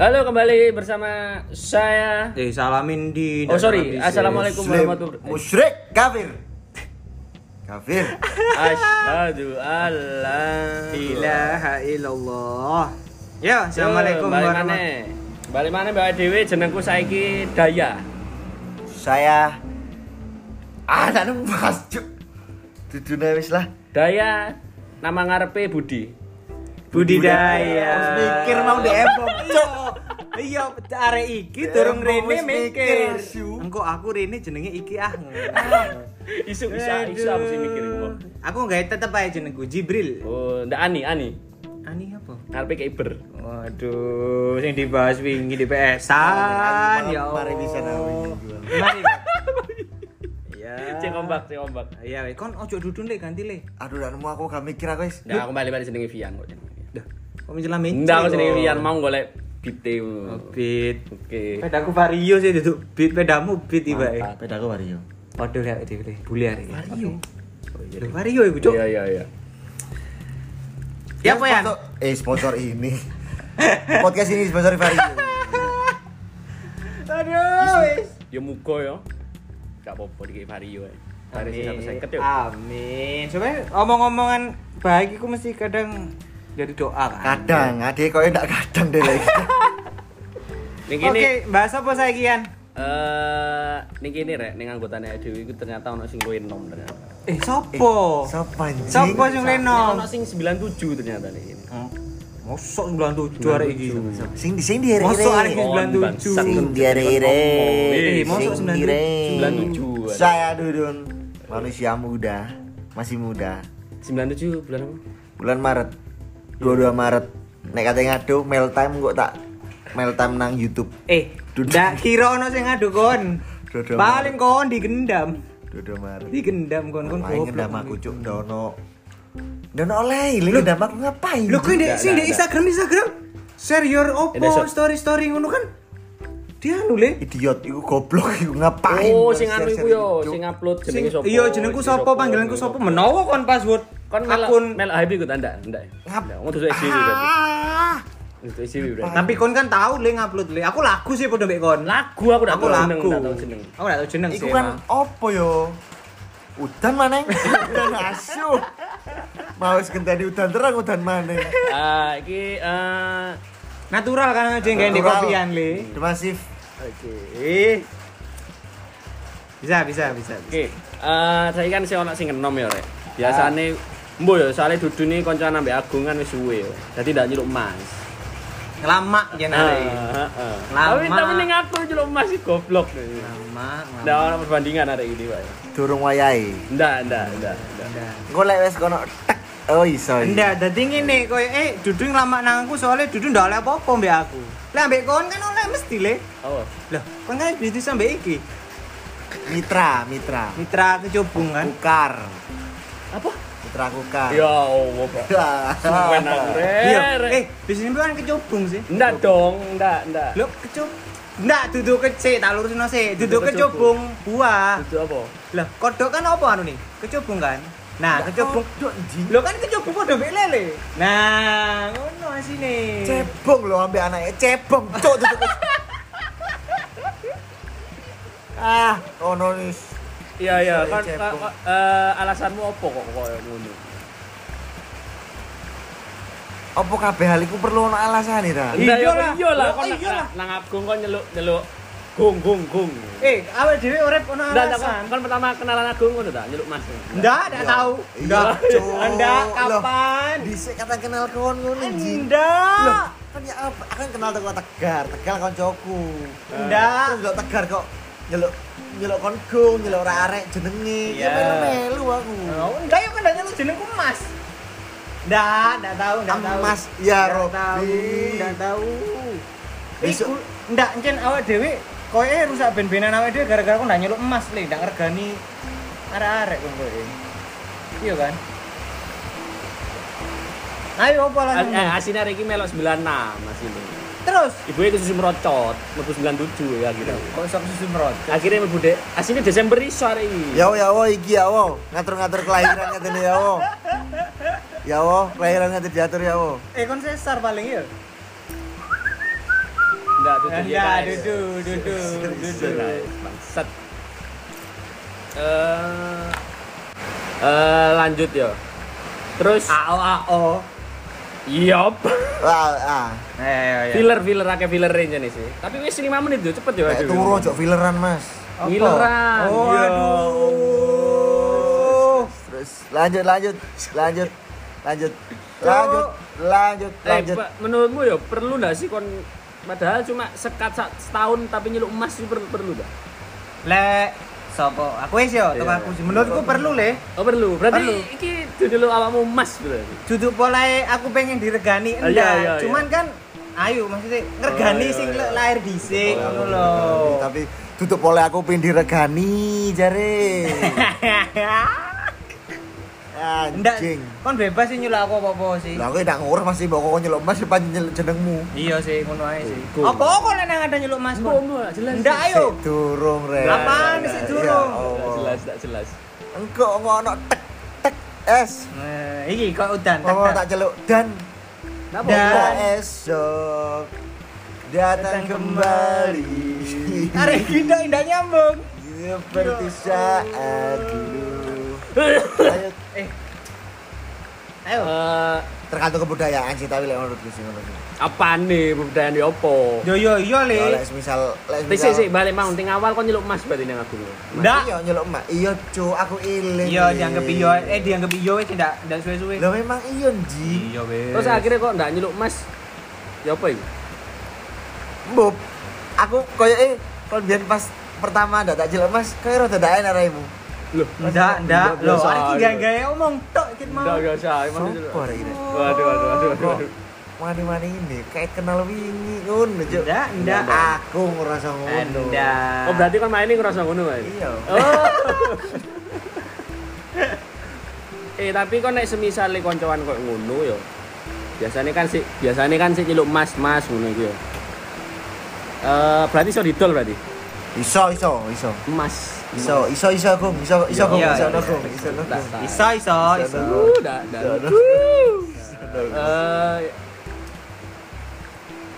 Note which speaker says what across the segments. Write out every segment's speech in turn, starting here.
Speaker 1: Halo kembali bersama saya.
Speaker 2: Eh salamin di
Speaker 1: Oh sorry, assalamualaikum
Speaker 3: Muslim,
Speaker 1: warahmatullahi wabarakatuh.
Speaker 3: musyrik kafir kafir
Speaker 1: Asyhadu alla
Speaker 2: Ilaha illallah. Ya, assalamualaikum
Speaker 1: Yo, balik
Speaker 2: warahmatullahi
Speaker 1: maneh. Balik maneh Mbak Dewi jenengku saiki Daya.
Speaker 3: saya ah tak nemu bahas cuk dudune wis lah
Speaker 1: Daya nama ngarepe Budi.
Speaker 2: Budidaya.
Speaker 3: Harus mikir mau di Evo cuk
Speaker 2: Iya, arek iki durung
Speaker 3: Emang
Speaker 2: rene
Speaker 3: wis
Speaker 2: mikir.
Speaker 3: mikir, Su.
Speaker 2: Engko aku rene jenenge iki ah.
Speaker 1: Isu isu isu apa sih mikir iku, Mbak?
Speaker 2: Aku nggak tetep aja jenengku Jibril.
Speaker 1: Oh, ndak Ani, Ani.
Speaker 2: Ani apa?
Speaker 1: Ngarepe Keiber.
Speaker 2: Waduh, sing dibahas wingi di PS-an ya.
Speaker 3: Mari bisa nawi.
Speaker 2: Mari. Ya.
Speaker 1: Cek ombak, cek ombak.
Speaker 2: Ya, we. kon ojo dudun le ganti le.
Speaker 3: aduh tak nemu aku gak mikir aku wis
Speaker 1: Nah, aku balik balik jenenge Vian kok.
Speaker 2: Dah. Kok mencelami?
Speaker 1: Ndak aku jenenge Vian mau golek bite.
Speaker 2: Beat.
Speaker 1: Oke.
Speaker 2: Pedaku vario sih duduk beat pedamu beat tiba eh.
Speaker 3: Ah, pedaku Wario
Speaker 2: Waduh ya itu deh bule hari ini. Vario. Lho, Vario iku cuk.
Speaker 1: Iya, iya, iya.
Speaker 3: iya.
Speaker 2: Ya apa ya?
Speaker 3: Sponsor- eh sponsor ini podcast ini sponsor Wario
Speaker 2: Aduh. wes.
Speaker 1: Ya muga ya. Gak apa-apa dikek vario ae. Vario eh. sing
Speaker 2: Amin.
Speaker 1: 150 yuk.
Speaker 2: Amin. Coba omong-omongan baik iku mesti kadang jadi doa kan.
Speaker 3: kadang
Speaker 1: Iya.
Speaker 3: adik kok enggak kadang deh lagi
Speaker 1: Ning kene
Speaker 2: Oke, bahas apa saya kian?
Speaker 1: eh ning kene rek ning anggotane dhewe iku ternyata ono sing kowe enom ternyata.
Speaker 2: Eh, sopo?
Speaker 3: sapa anjing?
Speaker 2: Sopo sing
Speaker 1: Ono
Speaker 2: leno?
Speaker 1: sing 97 ternyata ning kene.
Speaker 2: Mosok 97 arek iki.
Speaker 3: sing di sing di ere
Speaker 2: Mosok arek iki
Speaker 1: Oh,
Speaker 2: 97.
Speaker 1: bangsat.
Speaker 3: sing di ere ere
Speaker 1: Eh,
Speaker 2: mosok
Speaker 3: sing di ere
Speaker 1: 97.
Speaker 3: saya dudun manusia muda masih muda
Speaker 1: 97 bulan apa?
Speaker 3: bulan Maret 22 Maret nek kate ngadu mail time kok tak mail time nang YouTube
Speaker 2: Eh,
Speaker 3: Duduk.
Speaker 2: ndak kira ono sing ngadu kon.
Speaker 3: Duduk.
Speaker 2: Paling kon digendam.
Speaker 3: 22 Maret
Speaker 2: Digendam kon kon
Speaker 3: main
Speaker 2: goblok.
Speaker 3: ngedam aku cuk dono dono oleh ini ngedam aku ngapain
Speaker 2: Lho kuwi ndek
Speaker 1: Ndak, ndak,
Speaker 2: sing ndek
Speaker 1: ndak.
Speaker 2: Instagram Instagram share your
Speaker 1: Eh, ndak,
Speaker 2: opo
Speaker 1: Sob.
Speaker 2: story story ngono kan. Dia anu le.
Speaker 3: idiot iku goblok iku ngapain
Speaker 1: Oh, sing anu iku
Speaker 3: Share-share
Speaker 1: yo,
Speaker 3: gitu, Cuk.
Speaker 1: sing upload
Speaker 2: Sing-
Speaker 1: jenenge sapa?
Speaker 2: Iya jenengku sapa panggilanku sapa menawa kon password
Speaker 1: Kon
Speaker 2: akun.
Speaker 1: melak melak HB ku tanda, ndak.
Speaker 3: Ngap-
Speaker 1: Ndak, ngono dusuk SDW berarti.
Speaker 3: Ah.
Speaker 1: Dusuk SDW berarti.
Speaker 2: Tapi kon kan tahu le ngupload le. Aku lagu sih podo mbek kon.
Speaker 1: Lagu aku ndak
Speaker 2: Aku
Speaker 1: tau jeneng,
Speaker 2: lagu.
Speaker 1: ndak tau jeneng.
Speaker 2: Aku ndak tau jeneng
Speaker 3: iku
Speaker 2: sih.
Speaker 3: kan
Speaker 2: emang.
Speaker 3: opo yo udan maneng udan asu mau sekentani udan terang udan maneng
Speaker 1: Ah, iki eh
Speaker 2: natural kan aja yang di
Speaker 3: Natural.
Speaker 2: kopian le.
Speaker 3: The masif
Speaker 2: Oke. Bisa bisa bisa. bisa.
Speaker 1: Oke, eh saya kan sih ono sing enom ya rek. Biasane mbo ya soalnya dudu nih koncoan ambek Agung kan wis suwe ya. Dadi ndak nyeluk emas.
Speaker 2: Lama yen arek.
Speaker 1: Ah, ah, ah.
Speaker 2: Lama.
Speaker 1: Tapi tapi ning aku nyeluk emas sih goblok.
Speaker 2: Lama.
Speaker 1: Ndak
Speaker 2: lama.
Speaker 1: ono perbandingan arek ini wae.
Speaker 3: durung wayahe
Speaker 1: Ndak, ndak, ndak, ndak.
Speaker 2: Ndak.
Speaker 3: Engko lek wis kono tek. Oh iso.
Speaker 2: Ndak, dadi ngene koyo eh Dudu nglamak nang aku soalnya Dudu ndak oleh apa-apa mbek aku. Lah mbek kon kan oleh mesti le.
Speaker 1: Oh.
Speaker 2: Loh, kon kan bisnis sampe iki.
Speaker 3: Mitra, mitra.
Speaker 2: Mitra kecubung kan.
Speaker 3: Kukar.
Speaker 1: Apa?
Speaker 3: Mitra kukar.
Speaker 1: Ya Allah, Pak. Suwen aku rek.
Speaker 2: Eh, bisnis kan kecubung sih.
Speaker 1: Ndak dong, ndak, ndak.
Speaker 2: Loh, kecub. Ndak dudu kece tak lurusno sih. Dudu
Speaker 1: Dudu kecubung.
Speaker 2: kecubung buah.
Speaker 1: Itu apa?
Speaker 2: Lah, kodok kan apa anu nih? Kecubung kan. Nah, kecubung.
Speaker 3: Dok jing.
Speaker 2: Loh kan kecubung podo mbek lele. Nah, ngono asine.
Speaker 3: Cebong lho ambek anake cebong. Cuk tutup. ah, ono nis.
Speaker 1: Iya, iya,
Speaker 3: Saya
Speaker 1: kan
Speaker 3: cebong.
Speaker 1: kan- eh, alasanmu apa kok koyo ngono?
Speaker 3: Apa kabeh hal iku perlu ono alasan ta?
Speaker 2: Iya
Speaker 1: Ndak ya,
Speaker 2: lah.
Speaker 1: iya lah,
Speaker 2: Loh,
Speaker 1: kon
Speaker 2: iya lah.
Speaker 1: nang- nang Agung kon nyeluk nyeluk gung gung gung.
Speaker 2: Eh, awake dhewe urip ono
Speaker 1: Nggak, nggak,
Speaker 2: alasan.
Speaker 1: kan, kan pertama kenalan Agung ngono tak nyeluk Mas.
Speaker 2: Enggak, enggak tahu.
Speaker 3: Iya, Cuk.
Speaker 2: Anda
Speaker 3: Loh,
Speaker 2: kapan?
Speaker 3: Dhisik kata kenal kon ngono jing. Loh,
Speaker 2: Enggak.
Speaker 3: kan ya apa? Aku kan kenal teko Tegar, Tegal koncoku.
Speaker 2: Eh. Ndak.
Speaker 3: Terus nggak Tegar kok nyeluk nyeluk kon gong, nyeluk ora arek jenenge. Ya
Speaker 2: Iya.
Speaker 3: melu-melu aku.
Speaker 2: Enggak, yuk kan datang lu jenengku Mas. Enggak, enggak tahu, enggak tahu.
Speaker 3: Mas, ya
Speaker 2: Nggak
Speaker 3: Robi.
Speaker 2: tahu, Enggak tahu.
Speaker 3: Besok-
Speaker 2: Iku enggak encen awak dhewe koe rusak ben-benan awak dhewe gara-gara kok enggak nyeluk emas le, enggak ngergani arek-arek kok koe. Iya kan? Ayo apa
Speaker 1: Eh,
Speaker 2: langsung?
Speaker 1: eh, asine hari iki melok 96 Mas ini.
Speaker 2: Terus
Speaker 1: Ibu itu susu merocot, mlebu 97 ya akhirnya.
Speaker 2: kok sok susu merot.
Speaker 1: Akhirnya mlebu Dek. Asine Desember iso hari iki.
Speaker 3: Ya wo, ya wo, iki ya wo, ngatur-ngatur kelahiran katene ya wo. Ya wo, kelahiran ngatur diatur ya wo.
Speaker 2: iya. Eh kon sesar paling ya.
Speaker 1: Enggak, duduk ya.
Speaker 2: Enggak,
Speaker 1: guys.
Speaker 2: dudu, dudu, dudu.
Speaker 1: Bangsat. Eh eh, lanjut ya. Terus
Speaker 3: Ah.
Speaker 2: AO AO.
Speaker 1: yop.
Speaker 3: Wah, ah.
Speaker 2: Eh,
Speaker 1: Filler filler akeh filler range nih sih. Tapi wis 5 menit yo cepet yo.
Speaker 3: Kayak turu ojo fileran, Mas.
Speaker 1: Filleran.
Speaker 2: Oh,
Speaker 1: yo.
Speaker 2: aduh.
Speaker 3: Terus lanjut lanjut lanjut lanjut lanjut lanjut
Speaker 1: Eh,
Speaker 3: lanjut.
Speaker 1: Pak, menurutmu ya perlu nggak sih kon padahal cuma sekat sa- setahun tapi nyeluk emas itu perlu perlu nggak?
Speaker 2: Lek sopo? Aku wis yo,
Speaker 1: Iya,
Speaker 2: tok aku
Speaker 1: iya.
Speaker 2: sih. Menurutku perlu le.
Speaker 1: Oh perlu. Berarti
Speaker 2: Perlu.
Speaker 1: iki nyeluk awakmu emas berarti.
Speaker 2: Duduk polae aku pengen diregani
Speaker 1: Ah, iya, iya,
Speaker 2: enggak.
Speaker 1: iya.
Speaker 2: Cuman kan ayo maksudnya ngregani
Speaker 1: iya,
Speaker 2: sing
Speaker 1: iya.
Speaker 2: le- lahir dhisik ngono lho.
Speaker 3: Oh, Tapi tutup oleh aku pindir regani jare.
Speaker 2: Ndak
Speaker 3: Anjing.
Speaker 2: kon bebas sih nyulak aku apa-apa sih.
Speaker 3: Lah aku ndak ngurus masih mbok kok nyeluk mas depan nyeluk jenengmu.
Speaker 2: Iya sih ngono ae sih.
Speaker 1: Go.
Speaker 2: Apa kok lek nang ada nyeluk Mas?
Speaker 1: Mbok,
Speaker 2: kon?
Speaker 1: mbok, nggak jelas.
Speaker 2: Ndak ayo.
Speaker 3: Sik durung Ya re.
Speaker 2: Apaan sih durung?
Speaker 1: Nggak jelas, nggak jelas.
Speaker 3: Engko ngono tek tek es.
Speaker 2: Nah, iki kok udan. tak-
Speaker 3: Mau
Speaker 2: tak-
Speaker 3: Oh, tak celuk dan
Speaker 1: Napa?
Speaker 3: dan
Speaker 1: Mbok?
Speaker 3: esok datang
Speaker 2: Datang
Speaker 3: kembali.
Speaker 2: Arek iki ndak ndak nyambung.
Speaker 3: Seperti saat dulu. Ayo
Speaker 2: Eh. Ayo.
Speaker 1: Eh,
Speaker 3: tergantung kebudayaan sih tapi lek menurutku sih menurutku.
Speaker 1: apa nih budayaan di opo?
Speaker 2: Yo yo yo
Speaker 3: Ya,
Speaker 2: le.
Speaker 3: Lek misal lek
Speaker 1: Tapi sih sih balik mau ting awal kon nyeluk emas berarti nang aku.
Speaker 2: Ndak.
Speaker 3: Iya nyeluk mak. Iya cu aku iling.
Speaker 2: Iya dianggap iyo, eh dianggap iyo wis ndak ndak suwe-suwe.
Speaker 3: Lah memang iya nji.
Speaker 2: Iya wis.
Speaker 1: Terus akhirnya kok ndak nyeluk emas? Ya apa itu?
Speaker 3: Mbok aku koyo eh kon biyen pas pertama ndak tak celuk Mas, koyo rada ndak enak raimu.
Speaker 1: Loh,
Speaker 2: ndak
Speaker 1: Ndak
Speaker 2: ndak lho
Speaker 1: biasa,
Speaker 2: arek iki
Speaker 1: iya.
Speaker 2: gaya-gaya ya, omong tok iki mau.
Speaker 1: ndak biasa, emang
Speaker 3: Sopo arek iki?
Speaker 1: Waduh, waduh, waduh, waduh, waduh.
Speaker 3: Mani-mani ini kayak kenal wingi ngono Cuk.
Speaker 2: Ndak ndak. Eh,
Speaker 3: Aku ngerasa ngono.
Speaker 2: Ndak.
Speaker 1: Oh berarti kan main ini ngerasa ngono kan?
Speaker 3: Iya.
Speaker 1: Oh. eh tapi kok nek semisale koncoan kok ngono ya. Biasanya kan sih, biasanya kan sih nyeluk mas-mas ngono iku ya. Eh berarti iso didol berarti.
Speaker 3: Iso iso iso.
Speaker 1: Emas.
Speaker 3: Iso iso iso aku, iso iso aku,
Speaker 2: Iya,
Speaker 3: iso
Speaker 2: iya,
Speaker 1: iya.
Speaker 3: aku, iso aku.
Speaker 1: Ndak, ndak.
Speaker 2: Iso iso
Speaker 3: Iso,
Speaker 2: iso.
Speaker 1: Uh, dah, dah.
Speaker 3: Ndak, ndak.
Speaker 1: Eh,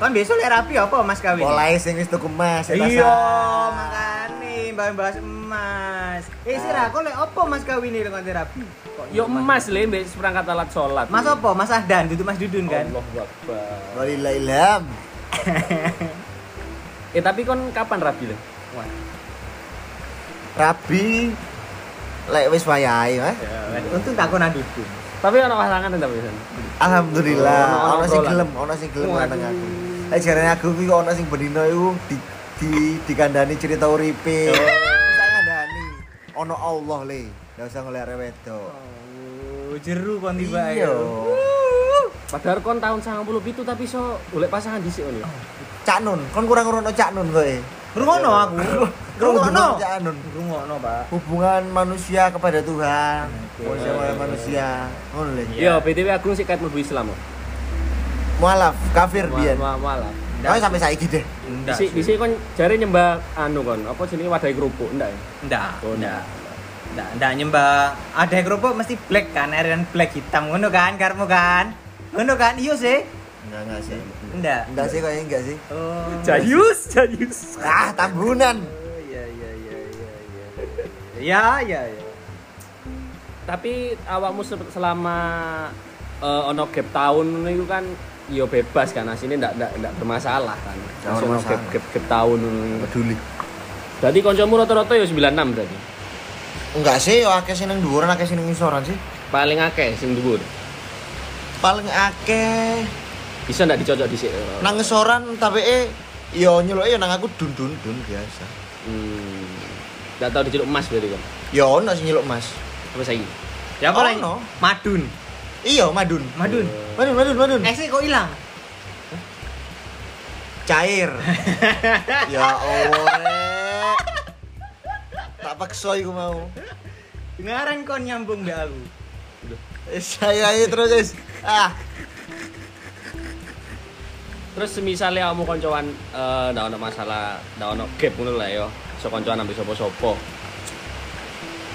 Speaker 2: Kan besok lek rapi apa Mas kawin?
Speaker 3: Mulai sing wis tuku Mas. ya,
Speaker 2: Iya,
Speaker 3: tasan.
Speaker 2: makane bahas emas. Eh sih ra kok lek opo Mas kawin lek kon rapi? Kok
Speaker 1: yo emas le mbek perangkat alat sholat.
Speaker 2: Mas opo? Mas Ahdan, duduk Mas Dudun kan.
Speaker 1: Allahu Akbar.
Speaker 3: Walillah ilham.
Speaker 1: Eh tapi kon kapan rapi le?
Speaker 2: Wah.
Speaker 3: Rabi lek wis wayahe, Mas.
Speaker 2: Untung takonan Dudun.
Speaker 1: Ya, Tapi kan ono pasangan tetap bisa.
Speaker 3: Alhamdulillah,
Speaker 1: Ono- ono
Speaker 3: ono sing
Speaker 1: obrolan.
Speaker 3: gelem, ono sing gelem
Speaker 1: Waduh.
Speaker 3: nang aku. Lek jarane aku kuwi ono sing benino iku di di dikandani cerita uripe. Tak ngandani. Ono Allah le. Ndak usah ngeliat wedok.
Speaker 2: Oh, jeru kon tiba
Speaker 3: Iya.
Speaker 1: Padahal kon tahun 97 tapi so golek pasangan dhisik ngono.
Speaker 3: Cak Nun, kon kurang ngono Cak Nun kowe.
Speaker 2: Ngrungokno aku. Ngrungokno.
Speaker 3: Hubungan Cak Nun.
Speaker 2: Ngrungokno, Pak.
Speaker 3: Hubungan manusia kepada Tuhan.
Speaker 2: Oke.
Speaker 3: Manusia kepada manusia. Ngono le.
Speaker 1: Yo, BTW Agung sih kait mlebu Islam.
Speaker 3: Mualaf, kafir biyen.
Speaker 1: Malah malah.
Speaker 3: Kowe sampai saiki deh.
Speaker 2: Ndak.
Speaker 1: Dhisik dhisik kon jare nyembah anu kon, apa jenenge wadahi kerupuk ndak ya?
Speaker 2: Ndak.
Speaker 1: Oh, ndak.
Speaker 2: Ndak. Ndak, ndak nyembah. Ada kerupuk mesti black kan, Iron black hitam ngono kan, karmu kan. Ngono kan, iya sih.
Speaker 3: Enggak enggak sih.
Speaker 2: Ndak.
Speaker 3: Enggak sih kayaknya enggak sih.
Speaker 2: Oh.
Speaker 1: Jayus, jayus.
Speaker 3: Ah, tambunan.
Speaker 2: Oh, Iya, iya, iya, iya, iya. Ya, ya, ya.
Speaker 1: Tapi awakmu se- selama eh, ono gap tahun itu kan yo bebas kan asine ndak ndak ndak bermasalah kan. Masih
Speaker 3: Ndak
Speaker 1: ono
Speaker 3: bermasalah.
Speaker 1: gap gap, gap tahun.
Speaker 3: Peduli.
Speaker 1: Berarti kancamu rata-rata yo 96 berarti.
Speaker 3: Enggak sih, yo akeh sing nang dhuwur, akeh sing nang ngisoran sih.
Speaker 1: Paling akeh sing dhuwur.
Speaker 3: Paling akeh
Speaker 1: Bisa ndak dicocok dhisik.
Speaker 3: nang ngisoran tapi eh yo nyeluke yo nang aku dun dun dun biasa.
Speaker 1: Hmm. Ndak tau diceluk emas berarti kan.
Speaker 3: Yo ono sing nyeluk Mas.
Speaker 1: Apa saiki?
Speaker 2: Ya apa
Speaker 3: Oh,
Speaker 2: lagi?
Speaker 3: no.
Speaker 2: Madun.
Speaker 3: Iya, madun.
Speaker 2: Madun.
Speaker 3: Madun, madun, madun.
Speaker 2: Eh sih kok hilang?
Speaker 3: Cair. ya Allah. Rek. Tak paksa iku mau.
Speaker 2: Dengaran kon nyambung mbak aku.
Speaker 3: Eh, Saya ayo terus guys. Ah,
Speaker 1: Terus semisalnya kamu koncoan eh, ndak ono masalah, ndak ono gap ngono lah yo. So koncoan ambek sapa-sapa.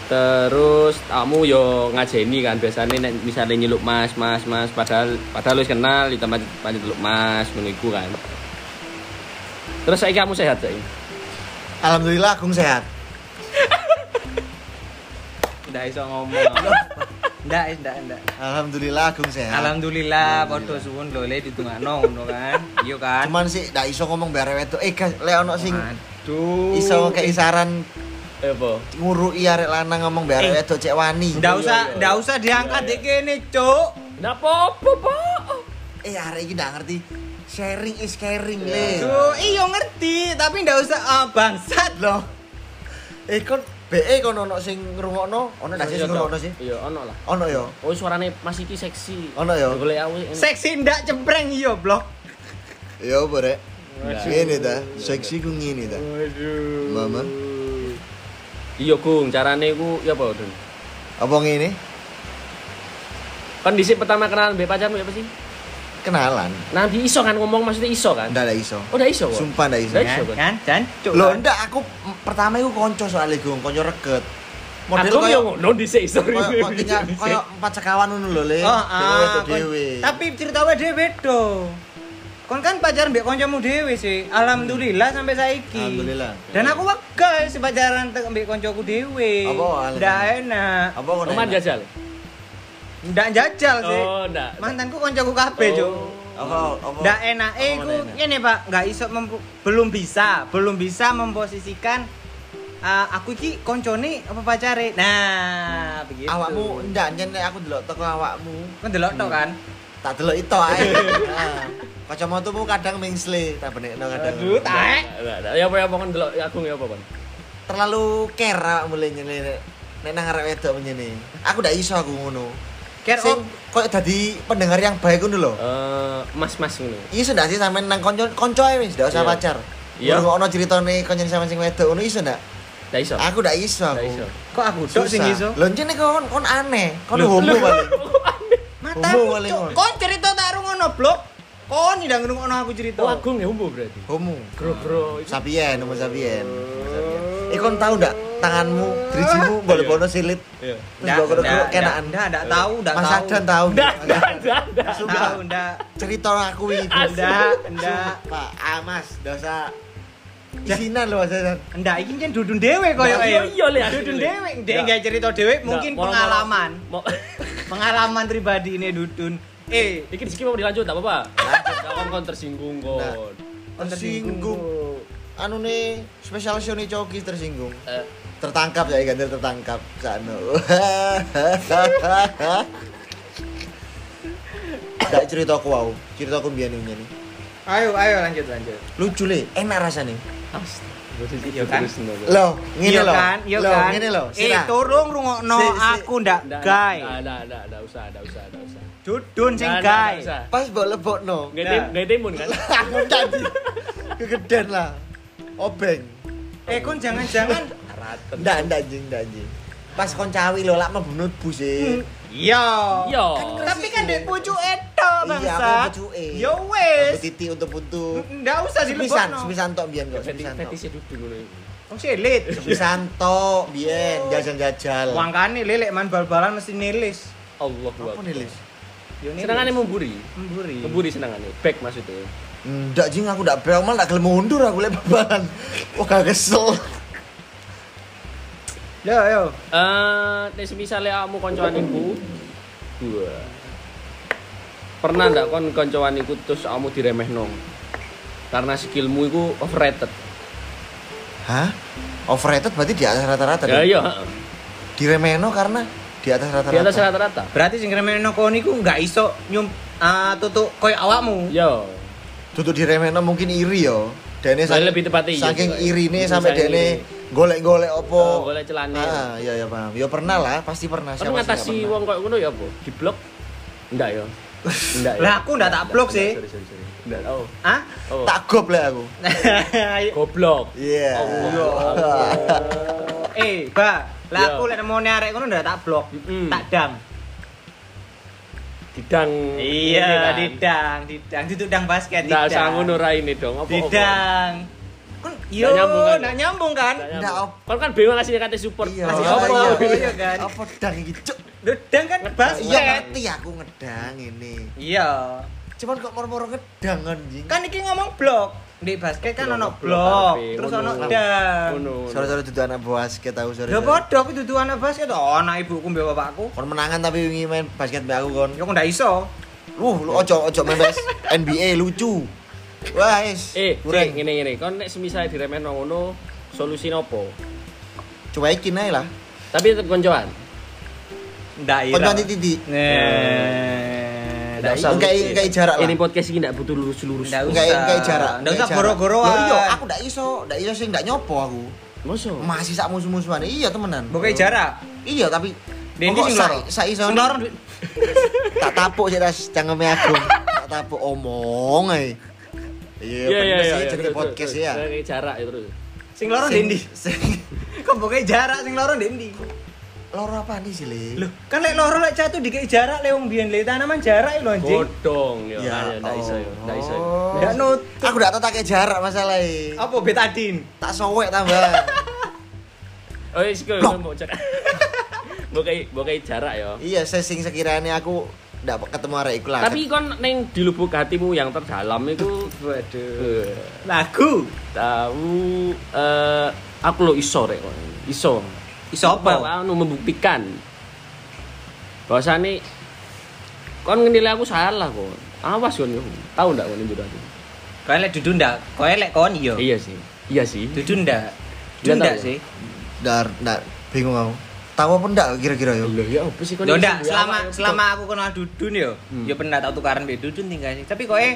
Speaker 1: Terus kamu yo ngajeni kan biasanya nek misalnya nyeluk Mas, Mas, Mas padahal padahal wis kenal ditambah panjat nyeluk Mas ngono iku kan. Terus saya kamu sehat saiki.
Speaker 3: Alhamdulillah Agung sehat.
Speaker 2: Ndak iso ngomong. Ndak, ndak, ndak.
Speaker 3: Alhamdulillah Agung
Speaker 2: Ya.
Speaker 3: sehat.
Speaker 2: Alhamdulillah padha suwun lho le ditungakno ngono kan. Iya kan.
Speaker 3: Cuman sih ndak iso ngomong bare wedok. Eh guys, lek ono sing
Speaker 2: Aduh.
Speaker 3: iso kayak isaran
Speaker 1: Eh,
Speaker 3: Iya,
Speaker 1: apa?
Speaker 3: ngurui arek lanang ngomong bare
Speaker 2: Eh.
Speaker 3: wedok cek wani.
Speaker 2: Ndak usah,
Speaker 1: Iya, iya.
Speaker 2: ndak usah diangkat dek kene, Cuk.
Speaker 1: Ndak apa-apa, Pak.
Speaker 3: Eh arek iki ndak ngerti. Sharing is caring le.
Speaker 2: Duh, iya ngerti, tapi ndak usah ah, bangsat.
Speaker 3: Loh. Eh kon BE kon ono sing ngrungokno, ono ndak sih sing ngrungokno sih?
Speaker 1: Iya, ono lah.
Speaker 3: Ono ya.
Speaker 1: Oh, suarane Mas iki seksi.
Speaker 3: Ono ya?
Speaker 1: Golek aku ini.
Speaker 2: Seksi ndak cempreng iya, Blok.
Speaker 3: Ya apa rek?
Speaker 1: Ndak.
Speaker 3: Ngene ta, seksi ku ngene ta.
Speaker 2: Waduh.
Speaker 3: Mama.
Speaker 1: Iya, Gung, carane ku ya apa, Dun?
Speaker 3: Apa ngene?
Speaker 1: Kondisi Kan pertama kenalan mbek pacarmu ya, apa sih?
Speaker 3: Kenalan.
Speaker 1: Nanti iso kan ngomong maksudnya iso kan?
Speaker 3: Ndak ada iso.
Speaker 1: Oh, udah iso kok.
Speaker 3: Sumpah ndak iso.
Speaker 1: Ndak
Speaker 2: Kan,
Speaker 1: Coba.
Speaker 2: kan, dan Cuk.
Speaker 3: Loh
Speaker 2: kan.
Speaker 3: ndak aku m- pertama iku konco soalnya gong, konco reket. Model
Speaker 1: Aku
Speaker 3: koyo
Speaker 1: Kan yo ngono dhisik sorry.
Speaker 3: koyo koyo tinggal- koyo empat sekawan ngono lho, Le.
Speaker 2: Oh, ah, kon-
Speaker 3: dewe.
Speaker 2: Tapi ceritawe dhewe beda. Kon kan pacaran mbek kancamu dhewe sih. Alhamdulillah sampai saiki.
Speaker 3: Alhamdulillah.
Speaker 2: Dan aku wakil sih pacaran te- mbek kancaku dhewe.
Speaker 3: Apa alasan?
Speaker 2: Ndak enak.
Speaker 3: apa ngono?
Speaker 1: Teman
Speaker 3: enak?
Speaker 1: jajal.
Speaker 2: Ndak jajal sih.
Speaker 1: Oh, ndak.
Speaker 2: Mantanku kancaku kabeh, Cuk.
Speaker 3: Apa apa?
Speaker 2: Ndak enak eh
Speaker 1: Oh,
Speaker 2: ku
Speaker 1: ndak enak.
Speaker 2: ngene Pak, nggak iso mempo- belum bisa, belum bisa memposisikan eh, aku iki koncone apa pacare. Nah, begitu.
Speaker 3: awakmu ndak nyen nek aku delok teko awakmu
Speaker 2: kan delok tok kan.
Speaker 3: tak delok itu ae Nah, kacamatamu kadang mengsle tak benekno kadang
Speaker 2: Aduh, taek.
Speaker 1: Ndak, ndak. Ya apa ya apa kon delok aku ya apa kon?
Speaker 3: terlalu care awakmu le nyen le, nek nek nang arek wedok menyene aku ndak iso aku ngono
Speaker 2: Care
Speaker 3: sing
Speaker 2: of
Speaker 3: koyo dadi pendengar yang baik ngono lho
Speaker 1: Eh, mas-mas ngono.
Speaker 3: iso ndak sih sampean nang konco konco ae wis ndak usah
Speaker 1: Iya.
Speaker 3: pacar
Speaker 1: Iya.
Speaker 3: Iya. Ngurung ono ceritane konco sama sing wedok ngono iso ndak?
Speaker 1: Ndak iso.
Speaker 3: Aku ndak iso
Speaker 1: Ndak
Speaker 3: aku.
Speaker 1: iso.
Speaker 2: Iya. kok aku tok sing iso.
Speaker 3: Lho njene kon kon aneh. Kon
Speaker 2: Loh,
Speaker 3: homo
Speaker 2: loh.
Speaker 3: paling. Homo
Speaker 2: Matamu,
Speaker 3: paling
Speaker 2: Cuk.
Speaker 3: kon.
Speaker 2: Kon cerita tak rungono, Blok. Kon ndang rungono aku cerita.
Speaker 1: Oh, aku ya umbo berarti.
Speaker 3: Homo.
Speaker 1: Bro, bro. itu-
Speaker 3: Sapien, nomor sapien. Eh kon tahu ndak tanganmu, drijimu boleh-boleh silit.
Speaker 1: Iya.
Speaker 3: Terus bawa kerok kenaan.
Speaker 2: Ndak, ndak tahu, ndak
Speaker 3: Mas
Speaker 2: tahu.
Speaker 3: Adan tahu.
Speaker 1: Ndak, ndak, ndak, ndak.
Speaker 2: Ndak
Speaker 3: Sumpah.
Speaker 2: tahu, ndak.
Speaker 3: Cerita aku iki.
Speaker 2: Ndak, ndak.
Speaker 3: Pak Ah, Amas, dosa isinan lho Mas Adan.
Speaker 2: Ndak iki njen dudun dhewe koyo
Speaker 1: Ndak, iya, iya, Le, asli,
Speaker 2: Dudun
Speaker 1: Le.
Speaker 2: dhewe,
Speaker 1: Ndak.
Speaker 2: dhek gak cerita dhewe mungkin
Speaker 1: Ndak, moro-moro.
Speaker 2: pengalaman.
Speaker 1: Mo-
Speaker 2: Pengalaman pribadi ini dudun. Eh,
Speaker 1: Iki di sini mau dilanjut enggak apa-apa. Lanjut, kawan kon tersinggung kon.
Speaker 3: Tersinggung. Anu nih spesial show nih coki tersinggung.
Speaker 1: Eh,
Speaker 3: Tertangkap ya ganti tertangkap kano. Ndak cerita aku wow, cerita aku biyen ini.
Speaker 2: ayo ayo lanjut lanjut.
Speaker 3: Lucu le, enak rasanya.
Speaker 1: astaga.
Speaker 2: Iya kan?
Speaker 1: Terus, no, bro.
Speaker 3: Loh, ngene
Speaker 2: Iya
Speaker 3: lho.
Speaker 2: kan, iya
Speaker 3: Loh,
Speaker 2: kan.
Speaker 3: ngene lho.
Speaker 2: Eh,
Speaker 3: Sira.
Speaker 2: turung rungokno
Speaker 3: Si- si-
Speaker 2: aku ndak
Speaker 1: Ndak,
Speaker 2: gay.
Speaker 1: ndak, ndak, ndak, ndak usah, ndak usah, ndak usah.
Speaker 2: Dudun sing
Speaker 1: Ndak, ndak,
Speaker 2: gay.
Speaker 1: ndak usah.
Speaker 3: Pas mbok lebokno.
Speaker 1: Nggak tim,
Speaker 2: Ndak.
Speaker 1: nggak timun kan?
Speaker 3: Aku tadi kegedean lah. Obeng.
Speaker 2: Eh, kon jangan-jangan
Speaker 1: Raten.
Speaker 3: Ndak ndak anjing, ndak anjing. Pas kon cawi lho lak membenut bus e.
Speaker 2: Iya.
Speaker 1: Yo.
Speaker 2: Tapi kan dek pucuk eto
Speaker 3: Iya,
Speaker 2: bangsa. Ya
Speaker 3: aku pucuke.
Speaker 2: Yo wes.
Speaker 3: Titi untuk buntu.
Speaker 2: Ndak usah
Speaker 3: Sepisan,
Speaker 2: hmm, dilebokno.
Speaker 3: sepisan tok biyen kok,
Speaker 1: Fetish
Speaker 3: sepisan tok.
Speaker 1: fetishnya duduk ngono iki.
Speaker 2: Wong selit.
Speaker 3: Sepisan tok biyen
Speaker 1: Oh.
Speaker 3: jajal-jajal.
Speaker 2: Wangkane lelek man bal-balan mesti nilis.
Speaker 1: Allahu
Speaker 3: Apa
Speaker 1: Akbar.
Speaker 3: nih, Lis?
Speaker 2: Yo nilis.
Speaker 1: Senangane memburi.
Speaker 2: memburi.
Speaker 1: Memburi senangane. Back maksudnya.
Speaker 3: Ndak jing aku ndak berang malah ndak gelem mundur aku lek babalan. Wah, gak kesel.
Speaker 2: Yo yo.
Speaker 1: Eh, nek misalnya kamu koncoan iku, dua. Pernah ndak kon koncoan iku terus kamu diremehno? Karena skillmu iku overrated.
Speaker 3: Hah? Overrated berarti di atas rata-rata.
Speaker 1: Ya
Speaker 3: dong?
Speaker 1: iya,
Speaker 3: Diremehno karena di atas rata-rata.
Speaker 1: di atas rata-rata.
Speaker 2: Berarti sing kremeno kon niku enggak iso nyum ah tutuk koyo awakmu.
Speaker 1: Yo.
Speaker 3: Duduk diremehno mungkin iri yo. Dene
Speaker 1: Nah, lebih tepatnya iya,
Speaker 3: saking
Speaker 1: coy.
Speaker 3: iri nih
Speaker 1: Mungkin
Speaker 3: sampai
Speaker 1: saking
Speaker 3: dene golek-golek opo.
Speaker 1: Oh, golek celane.
Speaker 3: Ah, iya ya paham. Yo pernah lah, pasti pernah.
Speaker 1: Kon
Speaker 3: sih nggak
Speaker 1: ngatasi
Speaker 3: pernah?
Speaker 1: wong koyo ngono ya apa? Di blok? Ndak ya. Ndak ya.
Speaker 2: Lah, aku ndak tak blok sih.
Speaker 1: Sorry, sorry, sorry. Ndak. Oh.
Speaker 2: Hah?
Speaker 1: Oh.
Speaker 3: Tak goblek aku.
Speaker 1: goblok.
Speaker 3: Iya.
Speaker 1: Allah.
Speaker 2: Eh, Ba, lah
Speaker 1: Yo.
Speaker 2: aku lek nemu arek ngono ndak tak blok,
Speaker 1: Mm-mm.
Speaker 2: tak dang.
Speaker 1: Didang. ini
Speaker 2: Iya,
Speaker 1: kan.
Speaker 2: didang, didang, didang dang basket.
Speaker 1: Ndak usah
Speaker 2: didang.
Speaker 1: ngono ra ini dong. Apa- apa?
Speaker 2: Didang. Kan yo
Speaker 1: nyambung kan?
Speaker 2: ndak nyambung kan?
Speaker 1: Ndak
Speaker 3: Ndak,
Speaker 1: nyambung.
Speaker 3: op.
Speaker 1: Kon kan bingung ngasih kate support.
Speaker 3: Iya.
Speaker 1: Ngasih
Speaker 2: Masih apa?
Speaker 1: apa?
Speaker 2: Iya, iya kan.
Speaker 3: Apa dang iki cuk?
Speaker 2: Didang kan
Speaker 3: Iya
Speaker 2: basket.
Speaker 3: ngerti aku ngedang ini.
Speaker 2: Iya.
Speaker 3: Cuman kok moro-moro ngedang anjing.
Speaker 2: Kan iki ngomong blok. Di basket kan
Speaker 1: Blok,
Speaker 2: ono
Speaker 1: blok,
Speaker 2: blok,
Speaker 1: arepe,
Speaker 2: terus
Speaker 1: ngono.
Speaker 2: ono dan.
Speaker 1: Ngono.
Speaker 3: Sore-sore duduk anak basket aku sore.
Speaker 2: Ya padha aku dudu anak basket oh anak ibuku mbek bapakku.
Speaker 3: Kon menangan tapi wingi main basket mbak aku kon. Uh,
Speaker 2: Ya kok ndak iso.
Speaker 3: Lu lu ojo ojo main bas- NBA lucu. Wah, is.
Speaker 1: Eh, cek
Speaker 3: kurang.
Speaker 1: ngene ngene. Kon nek semisale diremen ngono, solusi nopo?
Speaker 3: Cuekin ae lah.
Speaker 1: Tapi tetep koncoan.
Speaker 2: Ndak ira.
Speaker 3: Koncoan titik.
Speaker 1: Ndak
Speaker 2: Nih. Ndak
Speaker 1: usah.
Speaker 2: iso.
Speaker 3: Enggak
Speaker 1: lucu.
Speaker 3: enggak jarak lah.
Speaker 1: Ini podcast ini ndak butuh lurus-lurus.
Speaker 2: Ndak
Speaker 3: Enggak
Speaker 2: usah.
Speaker 3: enggak jarak.
Speaker 2: Ndak usah
Speaker 3: jarak.
Speaker 2: goro-goroan.
Speaker 3: Loh, Iya, aku ndak iso, ndak iso sing ndak nyopo aku.
Speaker 1: Moso.
Speaker 3: Masih sak musuh-musuhan. Iya, temenan.
Speaker 2: Bukan Oh. jarak.
Speaker 3: Iya, tapi
Speaker 2: Dendi
Speaker 3: Pokok
Speaker 2: sing
Speaker 3: sak-
Speaker 2: loro.
Speaker 3: Sak iso.
Speaker 2: Sing loro duit.
Speaker 3: tak tapuk sih tas cangkeme aku tak tapuk omong ae iya
Speaker 1: Ya,
Speaker 3: bener sih jadi podcast ya
Speaker 1: Kayak jarak ya terus.
Speaker 2: Sing loro
Speaker 3: Sing-
Speaker 2: Dendi.
Speaker 3: sing-
Speaker 2: Kok bukan jarak sing loro Dendi.
Speaker 3: loro apa nih sih le
Speaker 2: Loh, kan lek loro lek jatuh dikei jarak lek wong biyen lek tanaman jarak lho anjing.
Speaker 1: Bodong ya. Ya ndak iso ya, ndak iso. ya.
Speaker 3: Allah.
Speaker 2: Ndak nut.
Speaker 3: aku gak tau tak kayak jarak masalah e.
Speaker 2: Apa betadin?
Speaker 3: tak sowek tambah
Speaker 1: Oh, wis kok
Speaker 3: Blok.
Speaker 1: mau cek. Mbok kayak mbok kayak jarak ya.
Speaker 3: iya sesing sekiranya aku gak ketemu arek iku lah
Speaker 1: Tapi kon neng di lubuk hatimu yang terdalam itu
Speaker 2: Waduh.
Speaker 1: eh,
Speaker 2: Lagu.
Speaker 1: tahu eh aku lo iso rek kon. Iso.
Speaker 2: Iso apa?
Speaker 1: Bahwa anu membuktikan bahwasane kon ngenilai aku salah kok. Awas kon yo. Tahu ndak kon njur aku?
Speaker 2: Kowe lek dudu ndak? Kowe lek kon iya.
Speaker 1: Iya sih. Iya sih.
Speaker 2: Dudu ndak?
Speaker 1: Iya,
Speaker 2: Dudu ndak
Speaker 1: tahu.
Speaker 2: sih?
Speaker 3: dar dar bingung aku tahu apa ndak kira-kira yo
Speaker 1: Lho ya opo sih kon?
Speaker 2: Yo
Speaker 1: iso
Speaker 2: ndak,
Speaker 1: ya, awak
Speaker 2: selama
Speaker 1: ya,
Speaker 2: selama aku kenal Dudun yo.
Speaker 1: Hmm.
Speaker 2: Yo pernah tak tukaran mbek Dudun tinggal sih. Tapi kowe